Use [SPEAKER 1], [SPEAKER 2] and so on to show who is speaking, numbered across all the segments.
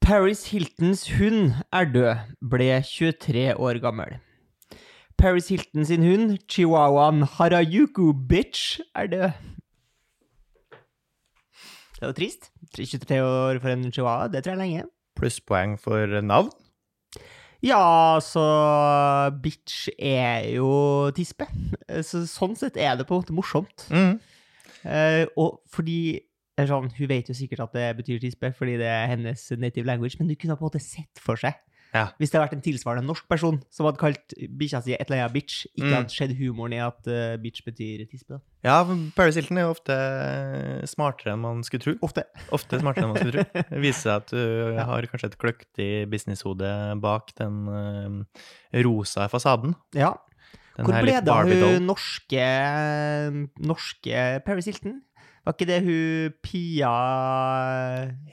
[SPEAKER 1] Paris Hiltons hund er død, ble 23 år gammel. Paris Hilton sin hund, chihuahuaen Harajuku Bitch, er død. Det var trist. 23 år for en chihuahua, det tror jeg er lenge.
[SPEAKER 2] Plusspoeng for navn.
[SPEAKER 1] Ja, altså Bitch er jo tispe. Så, sånn sett er det på en måte morsomt.
[SPEAKER 2] Mm.
[SPEAKER 1] Eh, og fordi eller sånn, Hun vet jo sikkert at det betyr tispe, fordi det er hennes native language, men du kunne på en måte sett for seg
[SPEAKER 2] Ja.
[SPEAKER 1] Hvis det hadde vært en tilsvarende norsk person som hadde kalt bikkja si et eller annet bitch, ikke
[SPEAKER 2] Mm.
[SPEAKER 1] hadde skjedd humoren i at eh, bitch betyr tispe. da.
[SPEAKER 2] Ja, men Paris Hilton er jo ofte smartere enn man skulle tro.
[SPEAKER 1] Ofte.
[SPEAKER 2] Ofte smartere enn man skulle tro. Det viser seg at du har kanskje et kløktig businesshode bak den eh, rosa fasaden.
[SPEAKER 1] Ja.
[SPEAKER 2] Den
[SPEAKER 1] Hvor
[SPEAKER 2] her
[SPEAKER 1] ble
[SPEAKER 2] litt
[SPEAKER 1] det av eh?
[SPEAKER 2] Barbie-doll.
[SPEAKER 1] hun norske, norske Paris Hilton? Var ikke det hun Pia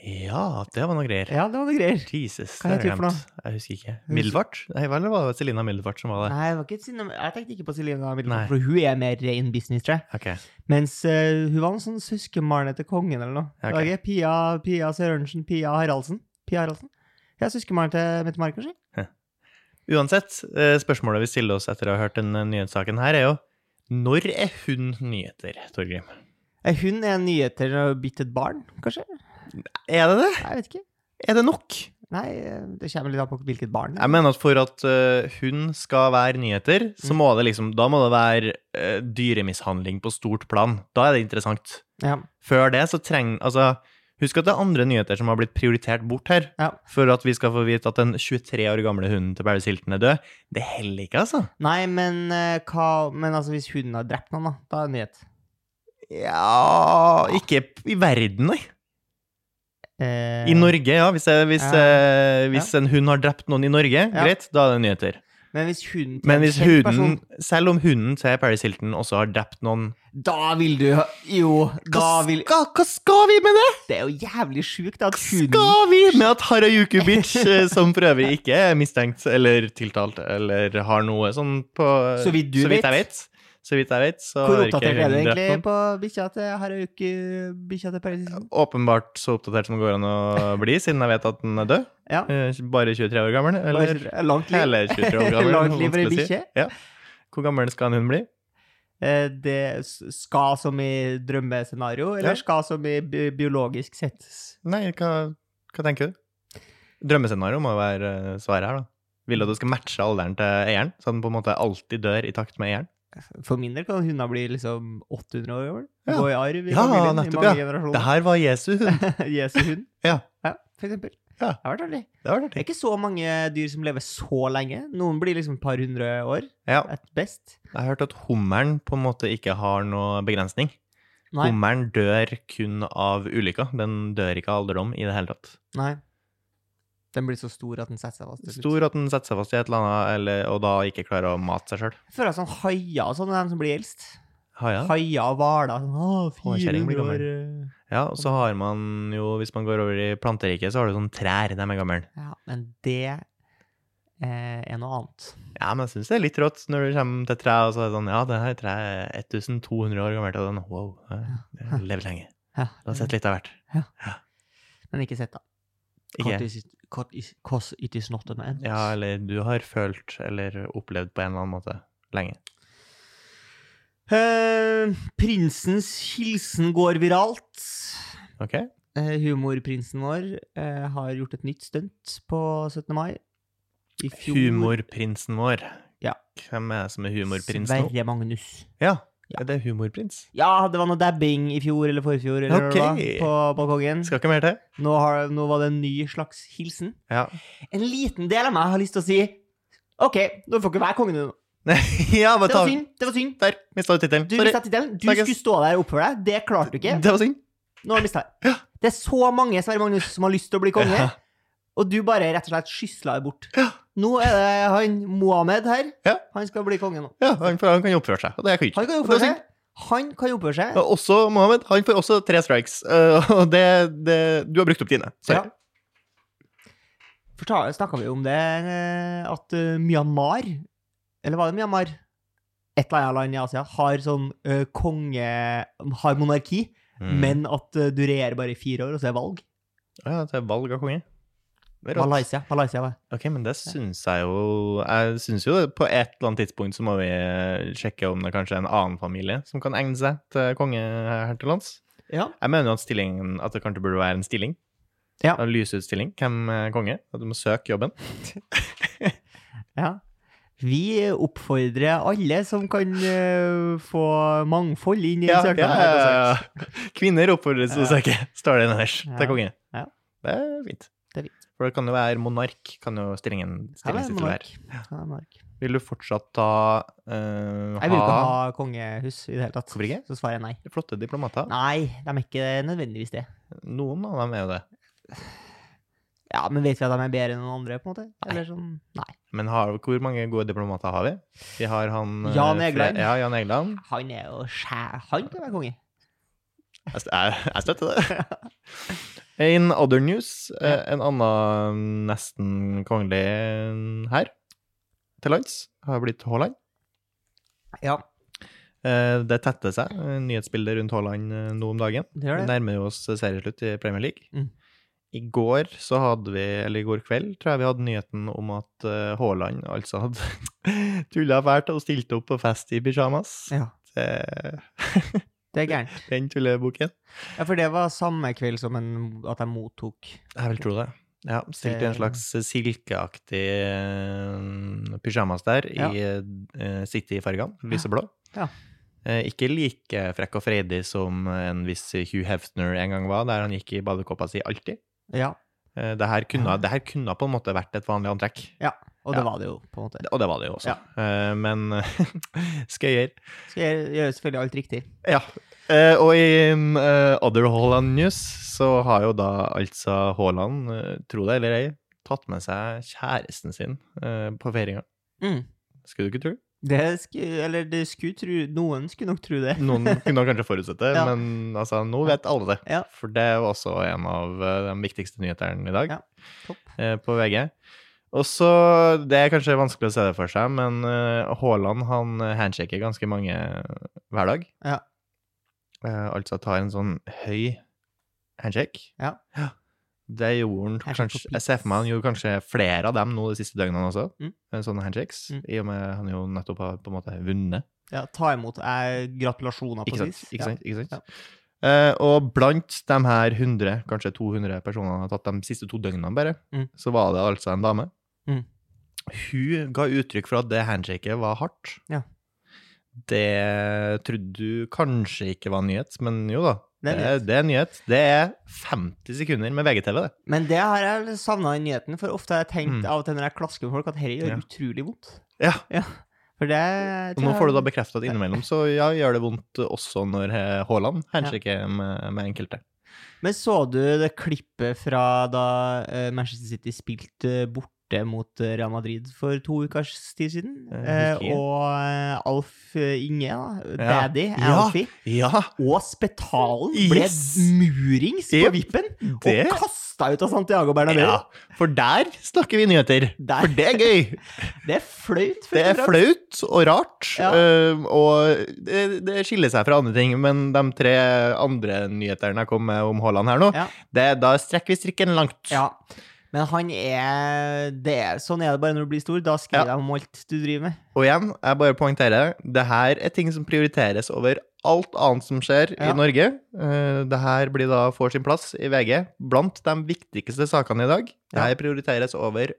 [SPEAKER 2] Ja, det var noe greier.
[SPEAKER 1] Ja, det var noe greier.
[SPEAKER 2] Jesus,
[SPEAKER 1] Hva
[SPEAKER 2] det har
[SPEAKER 1] heter
[SPEAKER 2] jeg
[SPEAKER 1] hun for
[SPEAKER 2] glemt. Jeg husker ikke. Middelfart? Nei, vel, det var Selina Middelfart som var det.
[SPEAKER 1] Nei, det var ikke Celine- jeg tenkte ikke på Celine
[SPEAKER 2] Nei.
[SPEAKER 1] Middelfart, for hun er mer in business, tror jeg.
[SPEAKER 2] Ok.
[SPEAKER 1] Mens eh, hun var en sånn søskenbarn etter kongen eller noe.
[SPEAKER 2] Ja,
[SPEAKER 1] Det
[SPEAKER 2] ok.
[SPEAKER 1] var ikke Pia, Pia Sørensen, Pia Haraldsen. Pia Haraldsen. Ja, søskenbarn til Mette Mark, kanskje?
[SPEAKER 2] Uansett, eh, spørsmålet vi stiller oss etter å ha hørt den eh, nyhetssaken her, er jo når er hun nyheter, Torgrim?
[SPEAKER 1] Eh, Hun er en nyheter og bitt et barn, kanskje?
[SPEAKER 2] Er det det?
[SPEAKER 1] Nei, Jeg vet ikke.
[SPEAKER 2] Er det nok?
[SPEAKER 1] Nei, eh, det kommer litt an på hvilket barn.
[SPEAKER 2] Jeg mener at for at eh, hun skal være nyheter, så
[SPEAKER 1] Mm.
[SPEAKER 2] må det liksom Da må det være eh, dyremishandling på stort plan. Da er det interessant.
[SPEAKER 1] Ja.
[SPEAKER 2] Før det så trenger Altså, husk at det er andre nyheter som har blitt prioritert bort her.
[SPEAKER 1] Ja.
[SPEAKER 2] For at vi skal få vite at den 23 år gamle hunden til Paris Hilton er død. Det heller ikke, altså.
[SPEAKER 1] Nei, men, eh, hva, men altså, hvis hun har drept noen, da, da er det nyhet.
[SPEAKER 2] Ja Ikke i verden, nei.
[SPEAKER 1] Eh,
[SPEAKER 2] I Norge, ja. Hvis, jeg, hvis,
[SPEAKER 1] Ja.
[SPEAKER 2] eh, hvis en hund har drept noen i Norge,
[SPEAKER 1] Ja.
[SPEAKER 2] greit, da er det nyheter.
[SPEAKER 1] Men hvis hun til
[SPEAKER 2] Men
[SPEAKER 1] en
[SPEAKER 2] hvis
[SPEAKER 1] kjent person-
[SPEAKER 2] hunden, selv om hunden til Paris Hilton også har drept noen
[SPEAKER 1] Da vil du Jo, da vil
[SPEAKER 2] skal, hva skal vi med det?!
[SPEAKER 1] Det er jo jævlig sjukt at hunden
[SPEAKER 2] Skal vi med at Harajuku Bitch, eh, som for øvrig ikke er mistenkt eller tiltalt eller har noe sånn på
[SPEAKER 1] Så vidt du
[SPEAKER 2] vidt jeg
[SPEAKER 1] vet.
[SPEAKER 2] vet. Så vidt jeg vet, så
[SPEAKER 1] Hvor
[SPEAKER 2] har ikke
[SPEAKER 1] oppdatert er du
[SPEAKER 2] hun drept
[SPEAKER 1] egentlig
[SPEAKER 2] noen.
[SPEAKER 1] på bikkja til Harajuki? Bikkja til Paris? Hilton?
[SPEAKER 2] Åpenbart så oppdatert som det går an å bli, siden jeg vet at den er død.
[SPEAKER 1] Ja.
[SPEAKER 2] Eh, Bare 23 år gammel. Eller
[SPEAKER 1] Bare eh, Langt liv.
[SPEAKER 2] hele 23 år gammel.
[SPEAKER 1] Langt liv for en
[SPEAKER 2] vanskelig å si.
[SPEAKER 1] bikkje.
[SPEAKER 2] Ja. Hvor gammel skal en hund bli?
[SPEAKER 1] Eh, Det s- skal som i drømmescenario, eller
[SPEAKER 2] Ja.
[SPEAKER 1] skal som i bi- biologisk sett?
[SPEAKER 2] Nei, hva, hva tenker du? Drømmescenario må jo være eh, svaret her, da. Vil du at du skal matche alderen til eieren, så den på en måte alltid dør i takt med eieren?
[SPEAKER 1] For min del kan hunder bli liksom 800 år gammel.
[SPEAKER 2] Ja.
[SPEAKER 1] Gå i arv i
[SPEAKER 2] Ja,
[SPEAKER 1] familien i
[SPEAKER 2] nettopp,
[SPEAKER 1] mange
[SPEAKER 2] ja. Det
[SPEAKER 1] generasjoner.
[SPEAKER 2] her var Jesu hund.
[SPEAKER 1] Jesu hund.
[SPEAKER 2] Ja.
[SPEAKER 1] for eksempel.
[SPEAKER 2] Ja.
[SPEAKER 1] Det har vært artig.
[SPEAKER 2] Det var det
[SPEAKER 1] Det er ikke så mange dyr som lever så lenge. Noen blir liksom et par hundre år,
[SPEAKER 2] Ja,
[SPEAKER 1] et best.
[SPEAKER 2] jeg har hørt at hummeren på en måte ikke har noe begrensning.
[SPEAKER 1] Nei.
[SPEAKER 2] Hummeren dør kun av ulykker. Den dør ikke av alderdom i det hele tatt.
[SPEAKER 1] Nei. Den blir så stor at den setter seg fast. til slutt.
[SPEAKER 2] Stor at den setter seg fast i et eller annet, eller, og da ikke klarer å mate seg sjøl.
[SPEAKER 1] Jeg føler sånn haier og sånn er de som blir eldst.
[SPEAKER 2] Haia.
[SPEAKER 1] Haier og hvaler. Sånn, «Å,
[SPEAKER 2] Håkjerring blir
[SPEAKER 1] 400 år. eh».
[SPEAKER 2] Ja, og så har man jo, hvis man går over i planteriket, så har du sånn trær. De er gamle.
[SPEAKER 1] Ja, men det eh, er noe annet.
[SPEAKER 2] Ja, men jeg syns det er litt rått når du kommer til trær, og så er det sånn Ja, det her treet er 1200 år gammelt, og den wow, det- det lever lenge.
[SPEAKER 1] Ja.
[SPEAKER 2] Du har sett litt av hvert.
[SPEAKER 1] Men ikke sett, da. Caught
[SPEAKER 2] Ikke?
[SPEAKER 1] is it- caught is- Cause it is not an end.
[SPEAKER 2] Ja, eller du har følt eller opplevd på en eller annen måte lenge.
[SPEAKER 1] Eh, prinsens hilsen går viralt.
[SPEAKER 2] Ok?
[SPEAKER 1] Eh, humorprinsen vår eh, har gjort et nytt stunt på 17. mai. I fjor-
[SPEAKER 2] Humorprinsen vår.
[SPEAKER 1] Ja.
[SPEAKER 2] Hvem er det som er humorprins nå?
[SPEAKER 1] Sverre Magnus.
[SPEAKER 2] Ja,
[SPEAKER 1] Ja.
[SPEAKER 2] er det humorprins?
[SPEAKER 1] Ja, det var noe dabbing i fjor eller forfjor eller
[SPEAKER 2] Ok.
[SPEAKER 1] hva det var, på balkongen.
[SPEAKER 2] Skal ikke mer til?
[SPEAKER 1] Nå, har, nå var det en ny slags hilsen.
[SPEAKER 2] Ja.
[SPEAKER 1] En liten del av meg har lyst til å si OK, du får ikke være kongen nå.
[SPEAKER 2] ja, bare
[SPEAKER 1] Det
[SPEAKER 2] ta
[SPEAKER 1] var synd. Det var synd.
[SPEAKER 2] Der mista du tittelen.
[SPEAKER 1] Du
[SPEAKER 2] Sorry.
[SPEAKER 1] mista tittelen. Du
[SPEAKER 2] Snakkes.
[SPEAKER 1] skulle stå der og oppføre deg. Det klarte du ikke.
[SPEAKER 2] Det var synd.
[SPEAKER 1] Nå har du mista det. Det er så mange Sverre Magnus som har lyst til å bli konge,
[SPEAKER 2] Ja.
[SPEAKER 1] og du bare rett og slett skysla det bort. Nå er det han Mohammed her.
[SPEAKER 2] Ja.
[SPEAKER 1] Han skal bli konge nå.
[SPEAKER 2] Ja, han, han kan jo oppføre seg, og det kan jeg ikke.
[SPEAKER 1] Han kan jo
[SPEAKER 2] Og det
[SPEAKER 1] oppføre
[SPEAKER 2] var synd.
[SPEAKER 1] seg. Han kan jo oppføre seg.
[SPEAKER 2] Og Også Mohammed. Han får også tre strikes, eh, og det, det Du har brukt opp dine. Sorry.
[SPEAKER 1] Ja. Forta- Snakka vi om det eh, at eh, Myanmar, eller var det Myanmar? Et eller annet land i Asia har sånn eh, konge... Har monarki,
[SPEAKER 2] Mm.
[SPEAKER 1] men at eh, du regjerer bare i fire år, og så er det valg.
[SPEAKER 2] Ja, det er valg av konge. Det er rått.
[SPEAKER 1] Malaysia. Malaysia var det.
[SPEAKER 2] Ok, men det syns jeg jo Jeg syns jo det. På et eller annet tidspunkt så må vi eh, sjekke om det kanskje er en annen familie som kan egne seg til konge her til lands.
[SPEAKER 1] Ja.
[SPEAKER 2] Jeg mener jo at stillingen At det kanskje burde være en stilling.
[SPEAKER 1] Ja.
[SPEAKER 2] En lysutstilling. Hvem er konge? At du må søke jobben.
[SPEAKER 1] ja. Vi oppfordrer alle som kan eh, få mangfold inn i
[SPEAKER 2] Ja, ja,
[SPEAKER 1] søknaden.
[SPEAKER 2] ja, ja. Kvinner oppfordres til å søke, står det nederst,
[SPEAKER 1] Ja.
[SPEAKER 2] til konge.
[SPEAKER 1] Ja.
[SPEAKER 2] Det er fint.
[SPEAKER 1] Det er fint.
[SPEAKER 2] For det kan jo være monark, kan jo stillingen
[SPEAKER 1] Ja, det er
[SPEAKER 2] stillingstittel
[SPEAKER 1] monark.
[SPEAKER 2] være.
[SPEAKER 1] Ja, det er monark.
[SPEAKER 2] Vil du fortsatt ta eh,
[SPEAKER 1] Jeg vil jo ikke ha kongehus i det hele tatt.
[SPEAKER 2] Hvorfor ikke?
[SPEAKER 1] Så svarer jeg nei.
[SPEAKER 2] Flotte diplomater.
[SPEAKER 1] Nei, de er ikke nødvendigvis det.
[SPEAKER 2] Noen av dem er jo det.
[SPEAKER 1] Ja, Men vet vi at de er bedre enn noen andre? på en måte? Eller sånn, nei.
[SPEAKER 2] Men har, hvor mange gode diplomater har vi? Vi har han eh,
[SPEAKER 1] Jan
[SPEAKER 2] Fre-
[SPEAKER 1] Egeland.
[SPEAKER 2] Ja, Jan Egeland.
[SPEAKER 1] Han er jo skjær... Han kan være konge.
[SPEAKER 2] Jeg, st- jeg, jeg støtter det. In other news, eh, en annen mm, nesten kongelig mm, her til lands har blitt Haaland.
[SPEAKER 1] Ja,
[SPEAKER 2] Eh, Det tetter seg, eh, nyhetsbildet rundt Haaland eh, nå om dagen.
[SPEAKER 1] det
[SPEAKER 2] Vi
[SPEAKER 1] gjør det.
[SPEAKER 2] nærmer oss serieslutt i Premier League.
[SPEAKER 1] Mm.
[SPEAKER 2] I går så hadde vi, eller i går kveld, tror jeg vi hadde nyheten om at eh, Haaland altså hadde tulla fælt og stilte opp på fest i pysjamas.
[SPEAKER 1] Ja,
[SPEAKER 2] Eh,
[SPEAKER 1] Det er gærent.
[SPEAKER 2] Den tullebukken.
[SPEAKER 1] Ja, For det var samme kveld som en, at jeg mottok
[SPEAKER 2] Jeg vil tro det. Ja, stilte i en
[SPEAKER 1] Det-
[SPEAKER 2] slags silkeaktig eh, pysjamas der,
[SPEAKER 1] Ja.
[SPEAKER 2] i eh, City-fargene, lyseblå.
[SPEAKER 1] Ja.
[SPEAKER 2] Eh, Ikke like frekk og freidig som en viss Hugh Hefner en gang var, der han gikk i badekåpa si alltid.
[SPEAKER 1] Ja,
[SPEAKER 2] Eh, Det her, kunne,
[SPEAKER 1] Ja.
[SPEAKER 2] det her kunne på en måte vært et vanlig antrekk,
[SPEAKER 1] og det
[SPEAKER 2] Ja.
[SPEAKER 1] var det jo, på en måte.
[SPEAKER 2] og det var det jo også. Eh, Men skøyer.
[SPEAKER 1] Skal jeg gjøre selvfølgelig alt riktig.
[SPEAKER 2] Ja. Eh, og i eh, Other Haaland News så har jo da altså Haaland, eh, tro det eller ei, tatt med seg kjæresten sin eh, på feiringa.
[SPEAKER 1] Mm.
[SPEAKER 2] Skulle du ikke tro?
[SPEAKER 1] Det skulle, eller det skulle tro, noen skulle nok tro det.
[SPEAKER 2] Noen kunne kanskje forutsette,
[SPEAKER 1] Ja.
[SPEAKER 2] men altså, nå vet alle det.
[SPEAKER 1] Ja.
[SPEAKER 2] For det var også en av eh, de viktigste nyhetene i dag
[SPEAKER 1] Ja, topp.
[SPEAKER 2] eh, på VG. Og så, Det er kanskje vanskelig å se det for seg, men eh, Haaland han handshaker ganske mange hver dag.
[SPEAKER 1] Ja.
[SPEAKER 2] Eh, altså tar en sånn høy handshake.
[SPEAKER 1] Ja.
[SPEAKER 2] Det gjorde han
[SPEAKER 1] Handshake
[SPEAKER 2] kanskje
[SPEAKER 1] på
[SPEAKER 2] Jeg ser for meg han gjorde kanskje flere av dem nå de siste døgnene også.
[SPEAKER 1] Mm.
[SPEAKER 2] eh, Sånne handshakes.
[SPEAKER 1] Mm.
[SPEAKER 2] I og med han jo nettopp har på en måte vunnet.
[SPEAKER 1] Ja, ta imot eh, gratulasjoner på
[SPEAKER 2] Ikke sant?
[SPEAKER 1] sis.
[SPEAKER 2] Ikke sant? Ikke sant?
[SPEAKER 1] Ja.
[SPEAKER 2] Eh, og blant de her 100, kanskje 200 personene han har tatt de siste to døgnene, bare,
[SPEAKER 1] Mm.
[SPEAKER 2] så var det altså en dame.
[SPEAKER 1] Mm.
[SPEAKER 2] Hun ga uttrykk for at det handshaket var hardt.
[SPEAKER 1] Ja.
[SPEAKER 2] Det trodde du kanskje ikke var nyhet, men jo da.
[SPEAKER 1] Det er
[SPEAKER 2] det, det er nyhet. Det er 50 sekunder med VGTV, det.
[SPEAKER 1] Ja. Men det har jeg savna i nyheten, for ofte har jeg tenkt
[SPEAKER 2] Mm.
[SPEAKER 1] av og til når jeg klasker med folk, at dette gjør
[SPEAKER 2] Ja.
[SPEAKER 1] utrolig vondt.
[SPEAKER 2] Ja.
[SPEAKER 1] For det
[SPEAKER 2] Og nå får du da bekrefta at innimellom så ja, gjør det vondt også når eh, Haaland handshaker med, med enkelte.
[SPEAKER 1] Men så du det klippet fra da eh, Manchester City spilte borte mot eh, Real Madrid for to ukers tid siden?
[SPEAKER 2] Eh,
[SPEAKER 1] Eh,
[SPEAKER 2] husker jeg.
[SPEAKER 1] og eh, Alf eh, Inge, da,
[SPEAKER 2] Ja.
[SPEAKER 1] daddy,
[SPEAKER 2] Ja.
[SPEAKER 1] Alfie,
[SPEAKER 2] Ja!
[SPEAKER 1] og Spetalen ble
[SPEAKER 2] Yes.
[SPEAKER 1] murings på
[SPEAKER 2] Yep.
[SPEAKER 1] vippen
[SPEAKER 2] Det-
[SPEAKER 1] og kasta ut av Santiago Bernabeu.
[SPEAKER 2] Ja, for der snakker vi nyheter.
[SPEAKER 1] Der.
[SPEAKER 2] For det er gøy.
[SPEAKER 1] Det er flaut. først
[SPEAKER 2] Det
[SPEAKER 1] og
[SPEAKER 2] er
[SPEAKER 1] fremst.
[SPEAKER 2] flaut og rart,
[SPEAKER 1] Ja.
[SPEAKER 2] øhm, og det, det skiller seg fra andre ting. Men de tre andre nyhetene jeg kom med om Haaland her nå,
[SPEAKER 1] Ja.
[SPEAKER 2] det, da strekker vi strikken langt.
[SPEAKER 1] Ja. Men han er, det er Sånn er det bare når du blir stor. Da skriver jeg om alt du driver med.
[SPEAKER 2] Og igjen, jeg bare poengterer, det her er ting som prioriteres over alt annet som skjer
[SPEAKER 1] Ja.
[SPEAKER 2] i Norge. Eh, Det her blir da får sin plass i VG blant de viktigste sakene i dag. Det her prioriteres over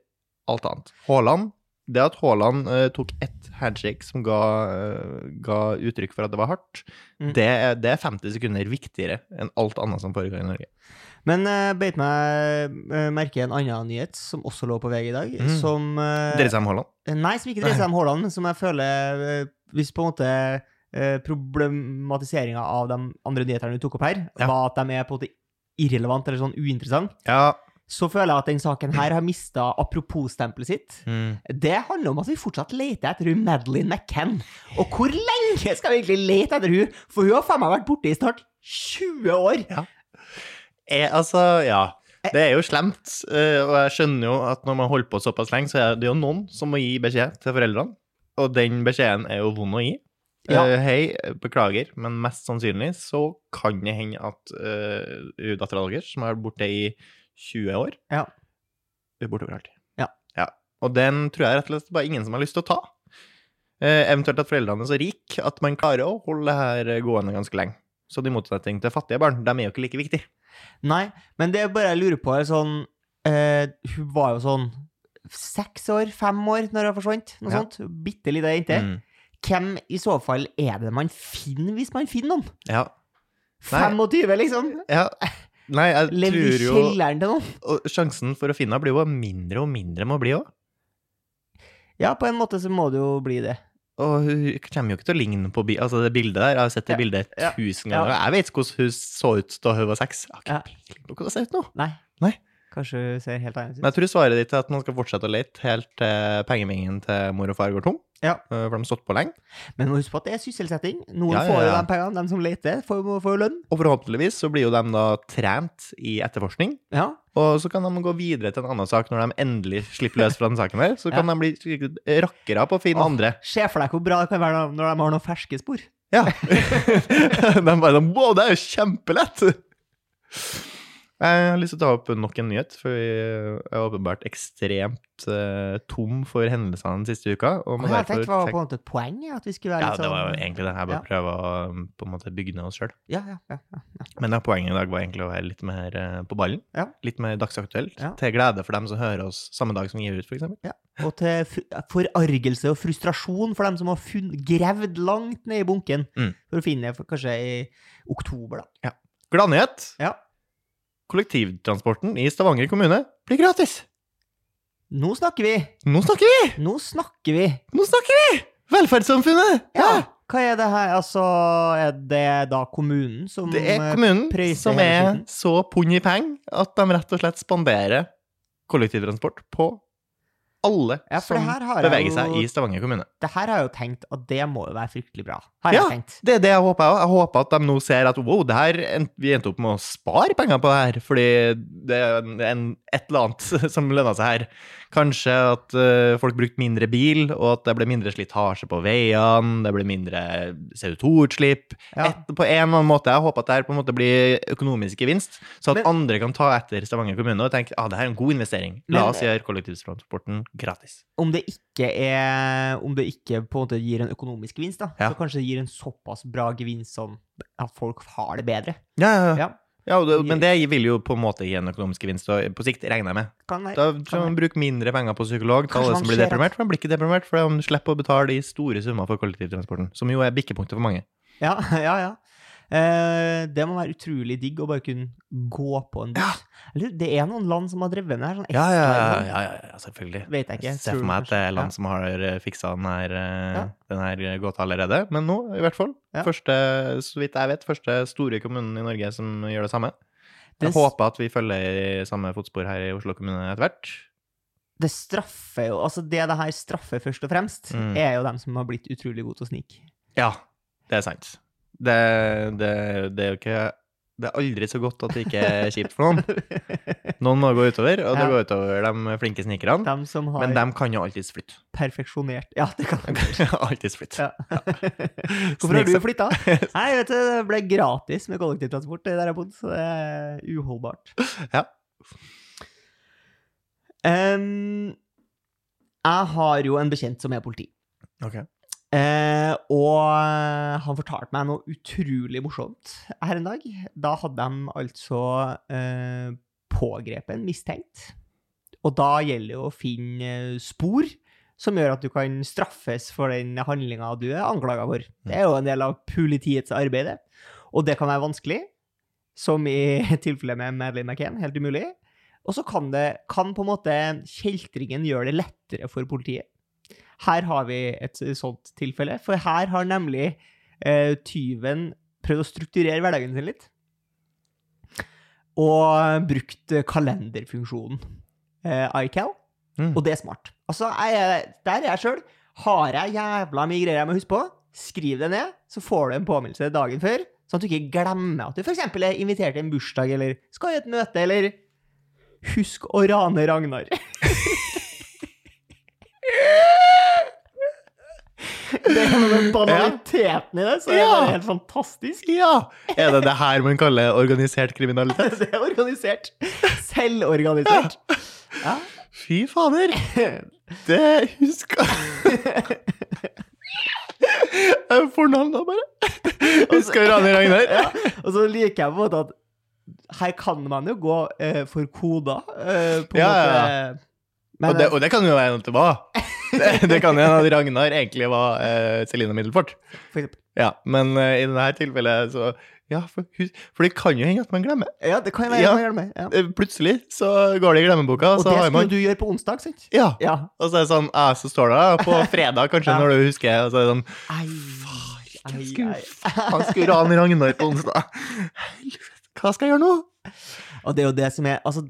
[SPEAKER 2] alt annet. Haaland. Det at Haaland eh, tok ett handshake som ga, eh, ga uttrykk for at det var hardt,
[SPEAKER 1] Mm.
[SPEAKER 2] det, er, det er 50 sekunder viktigere enn alt annet som foregår i Norge.
[SPEAKER 1] Men uh, beit meg eh, merke en annen nyhet som også lå på VG i dag,
[SPEAKER 2] Mm.
[SPEAKER 1] som eh,
[SPEAKER 2] Dreier seg om Haaland.
[SPEAKER 1] Nei, som ikke dreier seg om Haaland, men som jeg føler eh, Hvis på en måte uh, problematiseringa av de andre nyhetene du tok opp her,
[SPEAKER 2] Ja.
[SPEAKER 1] var at de er på en måte irrelevant eller sånn uinteressant,
[SPEAKER 2] Ja.
[SPEAKER 1] så føler jeg at den saken her har mista apropos-stempelet sitt.
[SPEAKER 2] Mm.
[SPEAKER 1] Det handler om at vi fortsatt leter etter hun Madeleine McCann. Og hvor lenge skal vi egentlig lete etter hun? For hun har faen meg vært borte i snart 20 år.
[SPEAKER 2] Eh, altså, ja. Det er jo slemt, eh, og jeg skjønner jo at når man holder på såpass lenge, så er det jo noen som må gi beskjed til foreldrene, og den beskjeden er jo vond å gi.
[SPEAKER 1] Ja.
[SPEAKER 2] Eh, Hei, beklager, men mest sannsynlig så kan det eh, hende at uh, dattera deres, som har vært borte i 20 år,
[SPEAKER 1] Ja.
[SPEAKER 2] borte overalt.
[SPEAKER 1] Ja.
[SPEAKER 2] Og den tror jeg rett og slett bare ingen som har lyst til å ta. Eh, eventuelt at foreldrene er så rike at man klarer å holde det her eh, gående ganske lenge. Så i motsetning til fattige barn, de er jo ikke like viktige.
[SPEAKER 1] Nei, men det er bare jeg lurer på er sånn eh, Hun var jo sånn seks år, fem år, når hun forsvant. Noe
[SPEAKER 2] Ja.
[SPEAKER 1] sånt. Bitte lita jente.
[SPEAKER 2] Mm.
[SPEAKER 1] Hvem i så fall er det man finner, hvis man finner noen?
[SPEAKER 2] Ja.
[SPEAKER 1] 25, liksom?
[SPEAKER 2] ja. Nei, jeg
[SPEAKER 1] Lever i
[SPEAKER 2] tror jo
[SPEAKER 1] kjelleren til noen?
[SPEAKER 2] og Sjansen for å finne henne blir jo mindre og mindre med å bli òg.
[SPEAKER 1] Ja, på en måte så må det jo bli det.
[SPEAKER 2] Og hun kommer jo ikke til å ligne på bi altså det bildet der. Jeg har sett det
[SPEAKER 1] Ja.
[SPEAKER 2] bildet
[SPEAKER 1] Ja.
[SPEAKER 2] tusen ganger. Jeg vet ikke hvordan hun så ut da hun var seks. Jeg har ikke
[SPEAKER 1] Ja.
[SPEAKER 2] peiling på hvordan hun ser ut nå.
[SPEAKER 1] Nei.
[SPEAKER 2] Nei.
[SPEAKER 1] Kanskje hun ser helt annerledes ut.
[SPEAKER 2] Men jeg tror svaret ditt er at man skal fortsette å lete helt til pengemingen til mor og far går tom.
[SPEAKER 1] Ja.
[SPEAKER 2] Eh, For de har stått på lenge.
[SPEAKER 1] Men husk på at det er sysselsetting. Noen
[SPEAKER 2] Ja, ja,
[SPEAKER 1] får jo
[SPEAKER 2] ja.
[SPEAKER 1] de pengene, de som leter, får jo får jo lønn.
[SPEAKER 2] Og forhåpentligvis så blir jo de da trent i etterforskning.
[SPEAKER 1] Ja.
[SPEAKER 2] Og så kan de gå videre til en annen sak når de endelig slipper løs fra den saken der. Så
[SPEAKER 1] Ja.
[SPEAKER 2] kan de bli skikkelig rakkere på å finne
[SPEAKER 1] Åh.
[SPEAKER 2] andre.
[SPEAKER 1] Se for deg hvor bra det kan være når de har noen ferske spor.
[SPEAKER 2] Ja. de bare sånn Wow, det er jo kjempelett! Jeg har lyst til å ta opp nok en nyhet, for vi er åpenbart ekstremt eh, tom for hendelsene den siste uka. Og må
[SPEAKER 1] Og jeg
[SPEAKER 2] derfor
[SPEAKER 1] tenkte det var
[SPEAKER 2] tenke-
[SPEAKER 1] på en måte poenget, at vi skulle være
[SPEAKER 2] Ja,
[SPEAKER 1] litt
[SPEAKER 2] det
[SPEAKER 1] sånn
[SPEAKER 2] var jo egentlig det. Jeg bare
[SPEAKER 1] Ja.
[SPEAKER 2] prøver å um, på en måte bygge ned oss sjøl.
[SPEAKER 1] Ja, ja, ja. ja.
[SPEAKER 2] Men ja, poenget i dag var egentlig å være litt mer eh, på ballen.
[SPEAKER 1] Ja.
[SPEAKER 2] Litt mer dagsaktuelt.
[SPEAKER 1] Ja.
[SPEAKER 2] Til glede for dem som hører oss samme dag som vi gir ut, f.eks.
[SPEAKER 1] Og til fr- forargelse og frustrasjon for dem som har funn, grevd langt ned i bunken
[SPEAKER 2] Mm.
[SPEAKER 1] for å finne det for- kanskje i oktober, da.
[SPEAKER 2] Gladnyhet!
[SPEAKER 1] Ja.
[SPEAKER 2] Kollektivtransporten i Stavanger kommune blir gratis!
[SPEAKER 1] Nå snakker vi!
[SPEAKER 2] Nå snakker vi!
[SPEAKER 1] Nå snakker vi!
[SPEAKER 2] Nå snakker vi! Velferdssamfunnet!
[SPEAKER 1] Ja! Hva er det her? Altså, er det da kommunen som
[SPEAKER 2] Det er
[SPEAKER 1] eh,
[SPEAKER 2] kommunen
[SPEAKER 1] prøyser
[SPEAKER 2] som
[SPEAKER 1] hele
[SPEAKER 2] er
[SPEAKER 1] tiden.
[SPEAKER 2] så pund i penger at de rett og slett spanderer kollektivtransport på alle
[SPEAKER 1] Ja, for
[SPEAKER 2] som
[SPEAKER 1] det her har jeg
[SPEAKER 2] beveger
[SPEAKER 1] jo-
[SPEAKER 2] seg i Stavanger kommune.
[SPEAKER 1] Det her har jeg jo tenkt at det må jo være fryktelig bra. Har jeg
[SPEAKER 2] Ja.
[SPEAKER 1] tenkt.
[SPEAKER 2] Det er det jeg håper jeg òg. Jeg håper at de nå ser at wow, det her, en- vi endte opp med å spare penger på det her, fordi det er en, en, et eller annet som lønna seg her. Kanskje at eh, folk brukte mindre bil, og at det ble mindre slitasje på veiene, det ble mindre CO2-utslipp.
[SPEAKER 1] Ja.
[SPEAKER 2] Et- På en eller annen måte. Jeg håper at det her på en måte blir økonomisk gevinst, så at
[SPEAKER 1] Men-
[SPEAKER 2] andre kan ta etter Stavanger kommune og tenke at ah, det her er en god investering. La
[SPEAKER 1] Men-
[SPEAKER 2] oss gjøre kollektivtransporten gratis.
[SPEAKER 1] Om det ikke er Om det ikke på en måte gir en økonomisk gevinst, da,
[SPEAKER 2] Ja.
[SPEAKER 1] så kanskje det gir en såpass bra gevinst som at folk har det bedre.
[SPEAKER 2] Ja, ja, ja.
[SPEAKER 1] Ja,
[SPEAKER 2] ja og det, men det vil jo på en måte gi en økonomisk gevinst, og på sikt regner jeg med.
[SPEAKER 1] kan være.
[SPEAKER 2] Da tror jeg man bruker mindre penger på psykolog til
[SPEAKER 1] Kanskje
[SPEAKER 2] alle
[SPEAKER 1] man
[SPEAKER 2] som blir
[SPEAKER 1] ser at-
[SPEAKER 2] deprimert. For de blir ikke deprimert, for de slipper å betale de store summer for kollektivtransporten, som jo er bikkepunktet for mange.
[SPEAKER 1] Ja, ja, ja. Eh, det må være utrolig digg å bare kunne gå på en buss. Eller, det er noen land som har drevet med det her. Sånn Estland,
[SPEAKER 2] selvfølgelig.
[SPEAKER 1] Vet jeg ikke.
[SPEAKER 2] Jeg ser
[SPEAKER 1] tror
[SPEAKER 2] for meg at det er
[SPEAKER 1] kanskje.
[SPEAKER 2] land som har fiksa den her, eh,
[SPEAKER 1] Ja.
[SPEAKER 2] den her gåta allerede. Men nå, i hvert fall.
[SPEAKER 1] Ja.
[SPEAKER 2] Første, så vidt jeg vet, første store kommunen i Norge som gjør det samme.
[SPEAKER 1] Det
[SPEAKER 2] Jeg
[SPEAKER 1] s-
[SPEAKER 2] håper at vi følger i samme fotspor her i Oslo kommune etter hvert.
[SPEAKER 1] ja. Det straffer jo Altså, det det her straffer først og fremst,
[SPEAKER 2] Mm.
[SPEAKER 1] er jo dem som har blitt utrolig gode til å snike.
[SPEAKER 2] Ja, det er sant. Det, det, det er jo ikke Det er aldri så godt at det ikke er kjipt for noen. Noen må gå utover, og
[SPEAKER 1] Ja.
[SPEAKER 2] det går utover de flinke snikerne.
[SPEAKER 1] Dem som har
[SPEAKER 2] Men de kan jo alltids flytte.
[SPEAKER 1] perfeksjonert Ja, det kan
[SPEAKER 2] De kan jo alltids flytte.
[SPEAKER 1] Ja. Hvorfor har du
[SPEAKER 2] Snikse-
[SPEAKER 1] flytta? Nei, vet du, det ble gratis med kollektivtransport der jeg bodde, så det er uholdbart.
[SPEAKER 2] Ja.
[SPEAKER 1] Em, jeg har jo en bekjent som er politi,
[SPEAKER 2] Ok.
[SPEAKER 1] Eh, og eh, han fortalte meg noe utrolig morsomt her en dag. Da hadde de altså eh, pågrepet en mistenkt, og da gjelder det jo å finne eh, spor som gjør at du kan straffes for den handlinga du er anklaga for. Det er jo en del av politiets arbeid, det. og det kan være vanskelig, som i tilfellet med Madeleine McCann, helt umulig. Og så kan, det, kan på en måte kjeltringen gjøre det lettere for politiet. Her har vi et sånt tilfelle, for her har nemlig eh, tyven prøvd å strukturere hverdagen sin litt. Og brukt eh, kalenderfunksjonen eh, iCal.
[SPEAKER 2] Mm.
[SPEAKER 1] Og det er smart. Altså, jeg, er- der er jeg sjøl. Har jeg jævla mye greier jeg må huske på, skriv det ned, så får du en påminnelse dagen før. Sånn at du ikke glemmer at du f.eks. er invitert til en bursdag, eller skal i et møte, eller Husk å rane Ragnar. Det er noe med banaliteten i det, så det er
[SPEAKER 2] Ja.
[SPEAKER 1] bare helt fantastisk.
[SPEAKER 2] Ja! Er det det her man kaller organisert kriminalitet?
[SPEAKER 1] Det er organisert. Selvorganisert. Ja.
[SPEAKER 2] Fy fader! Det huska Jeg får navn da, bare. Husker Rani Ragnar?
[SPEAKER 1] Ja, og så liker jeg på en måte at her kan man jo gå eh, for koder, eh, på en
[SPEAKER 2] Ja,
[SPEAKER 1] måte.
[SPEAKER 2] ja,
[SPEAKER 1] Men, eh,
[SPEAKER 2] Og det, og det kan jo være noe det var. Det, det kan jo hende at Ragnar egentlig var eh, Celine Middelfart.
[SPEAKER 1] for eksempel,
[SPEAKER 2] Ja, men eh, i dette tilfellet så Ja, for, hus- for det kan jo hende at man glemmer.
[SPEAKER 1] ja, det kan jeg
[SPEAKER 2] Ja.
[SPEAKER 1] kan jeg gjøre med. Ja.
[SPEAKER 2] Eh, Plutselig så går det i glemmeboka, og
[SPEAKER 1] Og
[SPEAKER 2] så
[SPEAKER 1] det
[SPEAKER 2] har
[SPEAKER 1] skulle
[SPEAKER 2] man
[SPEAKER 1] du gjøre på onsdag, sant?
[SPEAKER 2] Ja.
[SPEAKER 1] Ja.
[SPEAKER 2] Og så er det sånn eh, Så står det da, på fredag, kanskje,
[SPEAKER 1] Ja.
[SPEAKER 2] når du husker, og så er det sånn
[SPEAKER 1] Ei,
[SPEAKER 2] jeg
[SPEAKER 1] ei,
[SPEAKER 2] skulle
[SPEAKER 1] ei.
[SPEAKER 2] Han skulle rane Ragnar på onsdag. Hva skal jeg gjøre nå?
[SPEAKER 1] Og det er jo det som er Altså,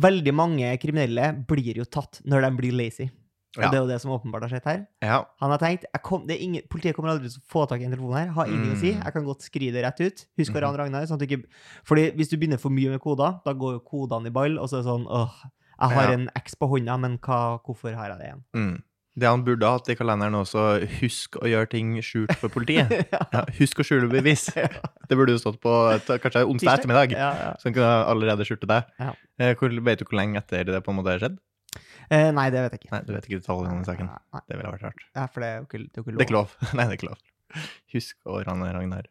[SPEAKER 1] veldig mange kriminelle blir jo tatt når de blir lazy. Og
[SPEAKER 2] Ja.
[SPEAKER 1] det er jo det som åpenbart har skjedd her.
[SPEAKER 2] Ja.
[SPEAKER 1] Han har tenkt jeg kom, det er ingen, Politiet kommer aldri til å få tak i en telefon her. Har ingenting å si.
[SPEAKER 2] Mm.
[SPEAKER 1] Jeg kan godt skrive det rett ut. Husk å
[SPEAKER 2] Mhm.
[SPEAKER 1] rane Ragnar. Sånn at du ikke, fordi hvis du begynner for mye med koder, da går jo kodene i ball, og så er det sånn åh, jeg har
[SPEAKER 2] Ja.
[SPEAKER 1] en X på hånda, men hva, hvorfor har jeg det igjen?
[SPEAKER 2] Mm. Det han burde hatt i kalenderen også, husk å gjøre ting skjult for politiet. Ja, husk å skjule bevis. Det burde jo stått på t- kanskje onsdag
[SPEAKER 1] Tirsdag?
[SPEAKER 2] ettermiddag.
[SPEAKER 1] Ja, ja.
[SPEAKER 2] Så han kunne allerede skjult deg.
[SPEAKER 1] Ja.
[SPEAKER 2] Eh, Hvor, vet du hvor lenge etter det på en måte har skjedd?
[SPEAKER 1] Eh, nei, det vet jeg ikke.
[SPEAKER 2] Nei, du vet ikke detaljene i saken.
[SPEAKER 1] Nei, nei,
[SPEAKER 2] Det ville vært rart.
[SPEAKER 1] ja, for det er jo ikke, det er jo
[SPEAKER 2] Det er ikke lov. Nei, det er ikke lov. Husk å rane Ragnar.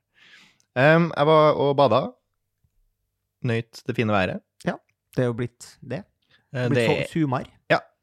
[SPEAKER 2] Em, jeg var og bada. Nøyt det fine været.
[SPEAKER 1] Det er jo blitt det.
[SPEAKER 2] Eh,
[SPEAKER 1] Blitt
[SPEAKER 2] Det
[SPEAKER 1] for, sumar.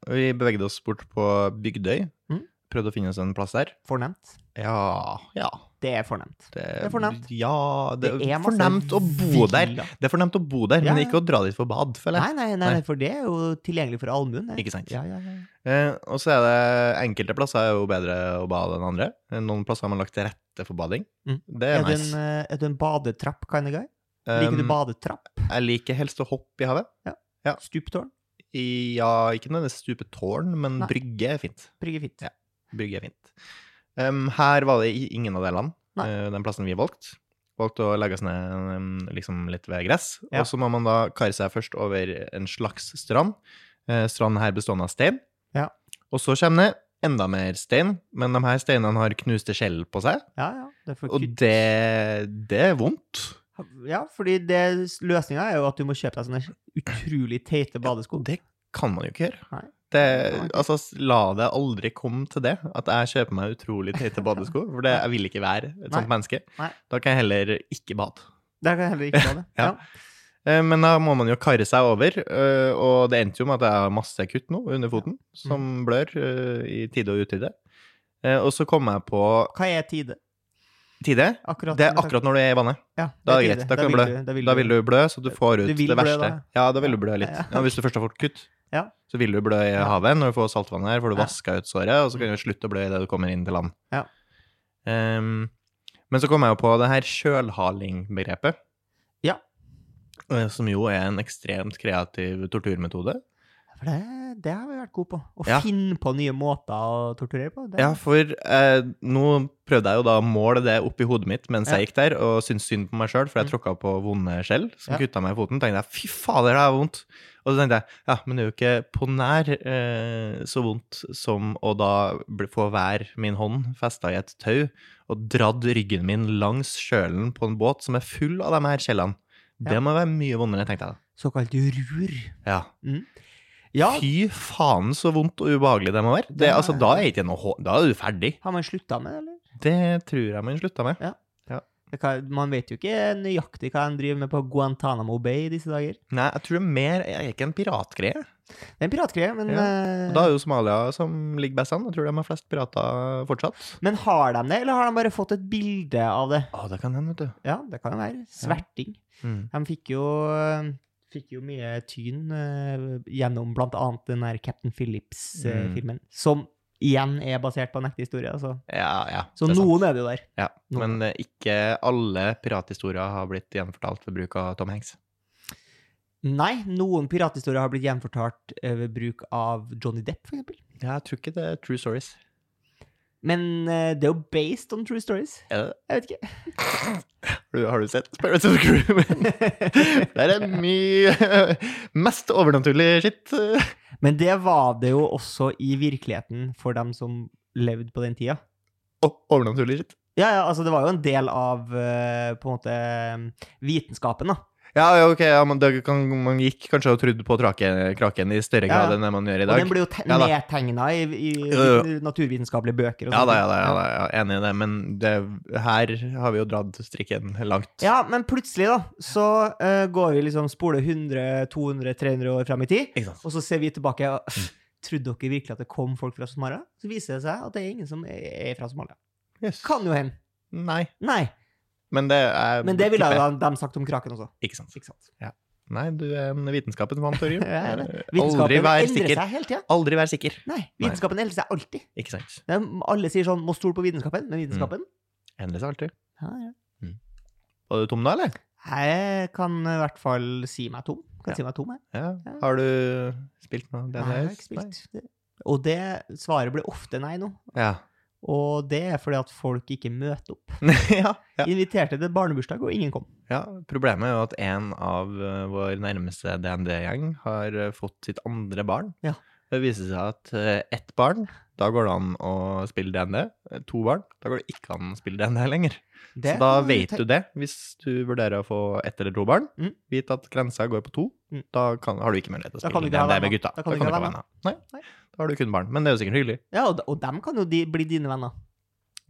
[SPEAKER 2] Vi bevegde oss bort på Bygdøy.
[SPEAKER 1] Mhm.
[SPEAKER 2] Prøvde å finne oss en plass der.
[SPEAKER 1] Fornemt.
[SPEAKER 2] Ja, ja.
[SPEAKER 1] Det er fornemt.
[SPEAKER 2] Det,
[SPEAKER 1] er fornemt.
[SPEAKER 2] Ja, det,
[SPEAKER 1] Det er
[SPEAKER 2] er
[SPEAKER 1] masse
[SPEAKER 2] fornemt å bo der.
[SPEAKER 1] villaer.
[SPEAKER 2] Det er fornemt å bo der,
[SPEAKER 1] Ja,
[SPEAKER 2] men
[SPEAKER 1] ja.
[SPEAKER 2] ikke å dra dit for bad, føler jeg.
[SPEAKER 1] Nei, nei, nei,
[SPEAKER 2] Nei.
[SPEAKER 1] nei, for det er jo tilgjengelig for allmuen. det.
[SPEAKER 2] Ikke sant?
[SPEAKER 1] Ja, ja, ja.
[SPEAKER 2] Eh, og så er det enkelte plasser er jo bedre å bade enn andre. Eh, Noen plasser har man lagt til rette for bading.
[SPEAKER 1] Mhm.
[SPEAKER 2] Det
[SPEAKER 1] Er,
[SPEAKER 2] er,
[SPEAKER 1] du en,
[SPEAKER 2] nice.
[SPEAKER 1] eh, er du en badetrapp, kind of guy? Liker eh, du
[SPEAKER 2] Um,
[SPEAKER 1] badetrapp?
[SPEAKER 2] Jeg liker helst å hoppe i havet.
[SPEAKER 1] Stuptårn?
[SPEAKER 2] I, ja, ikke nødvendigvis stupetårn, men
[SPEAKER 1] Nei.
[SPEAKER 2] brygge er fint.
[SPEAKER 1] Bryggefint.
[SPEAKER 2] Ja. Brygge er fint. Em, her var det i- ingen av delene,
[SPEAKER 1] Nei.
[SPEAKER 2] eh, den plassen vi valgte. Valgte å legge oss ned em, liksom litt ved gress.
[SPEAKER 1] Ja.
[SPEAKER 2] Og så må man da kare seg først over en slags strand. Eh, stranden her bestående av stein.
[SPEAKER 1] Ja.
[SPEAKER 2] Og så kommer det enda mer stein, men de her steinene har knuste skjell på seg.
[SPEAKER 1] Ja, ja. Det er for
[SPEAKER 2] Og
[SPEAKER 1] kutt.
[SPEAKER 2] det, det er vondt.
[SPEAKER 1] ja fordi løsninga er jo at du må kjøpe deg sånne utrolig teite badesko.
[SPEAKER 2] Og det kan man jo ikke gjøre.
[SPEAKER 1] Nei.
[SPEAKER 2] Det,
[SPEAKER 1] Nei.
[SPEAKER 2] altså, s- la det aldri komme til det, at jeg kjøper meg utrolig teite badesko. For det, jeg vil ikke være et sånt
[SPEAKER 1] Nei.
[SPEAKER 2] menneske.
[SPEAKER 1] Nei.
[SPEAKER 2] Da kan jeg heller ikke bade.
[SPEAKER 1] Der kan jeg heller ikke ha det.
[SPEAKER 2] Ja. Eh, Men da må man jo karre seg over, eh, og det endte jo med at jeg har masse kutt nå under foten,
[SPEAKER 1] Mm.
[SPEAKER 2] som blør eh, i tide og utide. Eh, Og så kom jeg på
[SPEAKER 1] Hva er tide?
[SPEAKER 2] Tide?
[SPEAKER 1] Akkurat,
[SPEAKER 2] Det er akkurat når du er i vannet.
[SPEAKER 1] ja,
[SPEAKER 2] Da er
[SPEAKER 1] tide.
[SPEAKER 2] det greit. Da kan du blø.
[SPEAKER 1] vil Eh,
[SPEAKER 2] Da vil du blø, så du får ut
[SPEAKER 1] Du vil
[SPEAKER 2] det
[SPEAKER 1] blø
[SPEAKER 2] verste.
[SPEAKER 1] da.
[SPEAKER 2] ja, da vil du
[SPEAKER 1] Ja.
[SPEAKER 2] blø litt.
[SPEAKER 1] Ja.
[SPEAKER 2] Ja, hvis du først har fått kutt,
[SPEAKER 1] Ja.
[SPEAKER 2] så vil du blø i
[SPEAKER 1] Ja.
[SPEAKER 2] havet. Når du får saltvann her, får du
[SPEAKER 1] Ja. Mm.
[SPEAKER 2] vaska ut såret, og så kan du slutte å blø idet du kommer inn til land.
[SPEAKER 1] Ja.
[SPEAKER 2] Ehm, men så kom jeg jo på det her sjølhaling-begrepet.
[SPEAKER 1] Ja.
[SPEAKER 2] Eh, Som jo er en ekstremt kreativ torturmetode.
[SPEAKER 1] For det, det har vi vært gode på. Å
[SPEAKER 2] Ja.
[SPEAKER 1] finne på nye måter å torturere på. Det.
[SPEAKER 2] Ja, for eh, nå prøvde jeg jo da å måle det oppi hodet mitt mens
[SPEAKER 1] Ja.
[SPEAKER 2] jeg gikk der, og syntes synd på meg sjøl, for jeg
[SPEAKER 1] Mm.
[SPEAKER 2] tråkka på vonde skjell som
[SPEAKER 1] Ja.
[SPEAKER 2] kutta meg i foten. tenkte jeg, fy fader, det er vondt. Og så tenkte jeg, ja, men det er jo ikke på nær eh, så vondt som å da bli- få hver min hånd festa i et tau og dradd ryggen min langs kjølen på en båt som er full av de her skjellene.
[SPEAKER 1] Ja.
[SPEAKER 2] Det må være mye vondere, tenkte jeg da.
[SPEAKER 1] Såkalt rur.
[SPEAKER 2] Ja.
[SPEAKER 1] Ja,
[SPEAKER 2] Fy faen så vondt og ubehagelig det må være. Det,
[SPEAKER 1] Det er-
[SPEAKER 2] altså, da er ikke noe hå- Da er du ferdig.
[SPEAKER 1] har man slutta med det, eller?
[SPEAKER 2] Det tror jeg man slutta med.
[SPEAKER 1] Det kan, man vet jo ikke nøyaktig hva en driver med på Guantánamo Bay i disse dager.
[SPEAKER 2] Nei, jeg tror det er mer Jeg er ikke en piratgreie.
[SPEAKER 1] Det er en piratgreie, men
[SPEAKER 2] Ja.
[SPEAKER 1] eh,
[SPEAKER 2] Og Da er jo Somalia som ligger best an. Jeg tror de har flest pirater fortsatt.
[SPEAKER 1] Men har de det, eller har de bare fått et bilde av det?
[SPEAKER 2] Å, det kan hende, vet du.
[SPEAKER 1] Ja, det kan jo være. Sverting.
[SPEAKER 2] Mm.
[SPEAKER 1] De fikk jo, eh, fikk jo mye tyn eh, gjennom blant annet den der Captain
[SPEAKER 2] Mm.
[SPEAKER 1] Phillips-filmen, som igjen er basert på en ekte historie. Altså.
[SPEAKER 2] Ja, ja.
[SPEAKER 1] Så
[SPEAKER 2] det er sant.
[SPEAKER 1] noen er det jo der.
[SPEAKER 2] ja.
[SPEAKER 1] noen-
[SPEAKER 2] Men eh, ikke alle pirathistorier har blitt gjenfortalt ved bruk av Tom Hanks.
[SPEAKER 1] Nei, noen pirathistorier har blitt gjenfortalt eh, ved bruk av Johnny Depp, for eksempel.
[SPEAKER 2] Ja, jeg tror ikke det er true stories.
[SPEAKER 1] Men eh, det er jo based on true stories.
[SPEAKER 2] Er det det?
[SPEAKER 1] Jeg vet ikke.
[SPEAKER 2] Har du- Har du sett Pirates of the Crew? Der er mye mest overnaturlig skitt.
[SPEAKER 1] Men det var det jo også i virkeligheten for dem som levde på den tida.
[SPEAKER 2] Oh, overnaturlig skitt.
[SPEAKER 1] Ja, ja, altså det var jo en del av eh, på en måte vitenskapen, da.
[SPEAKER 2] Ja, ja, ok, ja, men det kan, man gikk kanskje og trodde på trake, kraken i større
[SPEAKER 1] Ja, ja.
[SPEAKER 2] grad enn det man gjør i
[SPEAKER 1] Og
[SPEAKER 2] dag.
[SPEAKER 1] den blir jo te-
[SPEAKER 2] Ja da.
[SPEAKER 1] nedtegna i, i
[SPEAKER 2] Jo,
[SPEAKER 1] naturvitenskapelige bøker. Og sånn.
[SPEAKER 2] Ja da,
[SPEAKER 1] sånne
[SPEAKER 2] ja da, ja da, ja, enig i det, men det, her har vi jo dratt strikken langt.
[SPEAKER 1] Ja, men plutselig, da, så eh, går vi liksom spole 100, 200, 300 år fram i tid,
[SPEAKER 2] Ikke sant?
[SPEAKER 1] og så ser vi tilbake
[SPEAKER 2] Mm.
[SPEAKER 1] og «Pff, Trodde dere virkelig at det kom folk fra Somalia? Så viser det seg at det er ingen som er fra Somalia.
[SPEAKER 2] Yes.
[SPEAKER 1] Kan jo hende.
[SPEAKER 2] Nei,
[SPEAKER 1] Nei.
[SPEAKER 2] men det er
[SPEAKER 1] Men det ville jo da de sagt om kraken også.
[SPEAKER 2] Ikke sant.
[SPEAKER 1] Ikke sant?
[SPEAKER 2] Nei, du er en vitenskapens mann, Torjum.
[SPEAKER 1] Jeg er det.
[SPEAKER 2] Aldri
[SPEAKER 1] Vitenskapen
[SPEAKER 2] vær
[SPEAKER 1] endrer
[SPEAKER 2] sikker.
[SPEAKER 1] seg hele tida.
[SPEAKER 2] Aldri vær sikker.
[SPEAKER 1] Nei, vitenskapen endrer seg alltid.
[SPEAKER 2] Ikke sant.
[SPEAKER 1] Det er- Alle sier sånn 'må stole på vitenskapen', men vitenskapen
[SPEAKER 2] Endelig så alltid.
[SPEAKER 1] ja, ja.
[SPEAKER 2] Var du tom nå, eller?
[SPEAKER 1] Jeg kan i hvert fall si meg tom. Kan
[SPEAKER 2] Ja.
[SPEAKER 1] si meg tom, jeg.
[SPEAKER 2] Ja.
[SPEAKER 1] Ja.
[SPEAKER 2] Har du spilt noe
[SPEAKER 1] Nei, jeg har
[SPEAKER 2] DNS?
[SPEAKER 1] ikke spilt. Og det svaret blir ofte nei nå.
[SPEAKER 2] Ja.
[SPEAKER 1] Og det er fordi at folk ikke møter opp.
[SPEAKER 2] ja. ja.
[SPEAKER 1] Inviterte til barnebursdag, og ingen kom.
[SPEAKER 2] Ja, Problemet er jo at en av eh, vår nærmeste DND-gjeng har eh, fått sitt andre barn.
[SPEAKER 1] Ja.
[SPEAKER 2] Det viser seg at eh, ett barn, da går det an å spille DND. Eh, To barn, da går det ikke an å spille DND lenger.
[SPEAKER 1] Det
[SPEAKER 2] Så da
[SPEAKER 1] kan man
[SPEAKER 2] vet
[SPEAKER 1] tenke-
[SPEAKER 2] du det, hvis du vurderer å få ett eller to barn.
[SPEAKER 1] Mm.
[SPEAKER 2] Vit at grensa går på to.
[SPEAKER 1] Mm.
[SPEAKER 2] Da kan, har du ikke mulighet til å
[SPEAKER 1] Da kan du
[SPEAKER 2] spille
[SPEAKER 1] ikke ha
[SPEAKER 2] DND med
[SPEAKER 1] venner.
[SPEAKER 2] gutta.
[SPEAKER 1] Da kan du ikke ha venner.
[SPEAKER 2] Nei.
[SPEAKER 1] Nei.
[SPEAKER 2] Da har du kun barn. Men det er jo sikkert hyggelig.
[SPEAKER 1] Ja, og, og dem kan jo de, bli dine venner.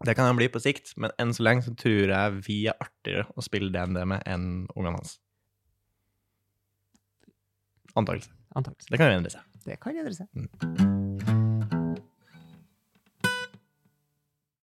[SPEAKER 2] Det kan han bli på sikt, men enn så lenge så tror jeg vi er artigere å spille DND med enn ungene hans. Antakelse.
[SPEAKER 1] Antakeligvis.
[SPEAKER 2] Det kan jo endre seg.
[SPEAKER 1] Det kan endre seg.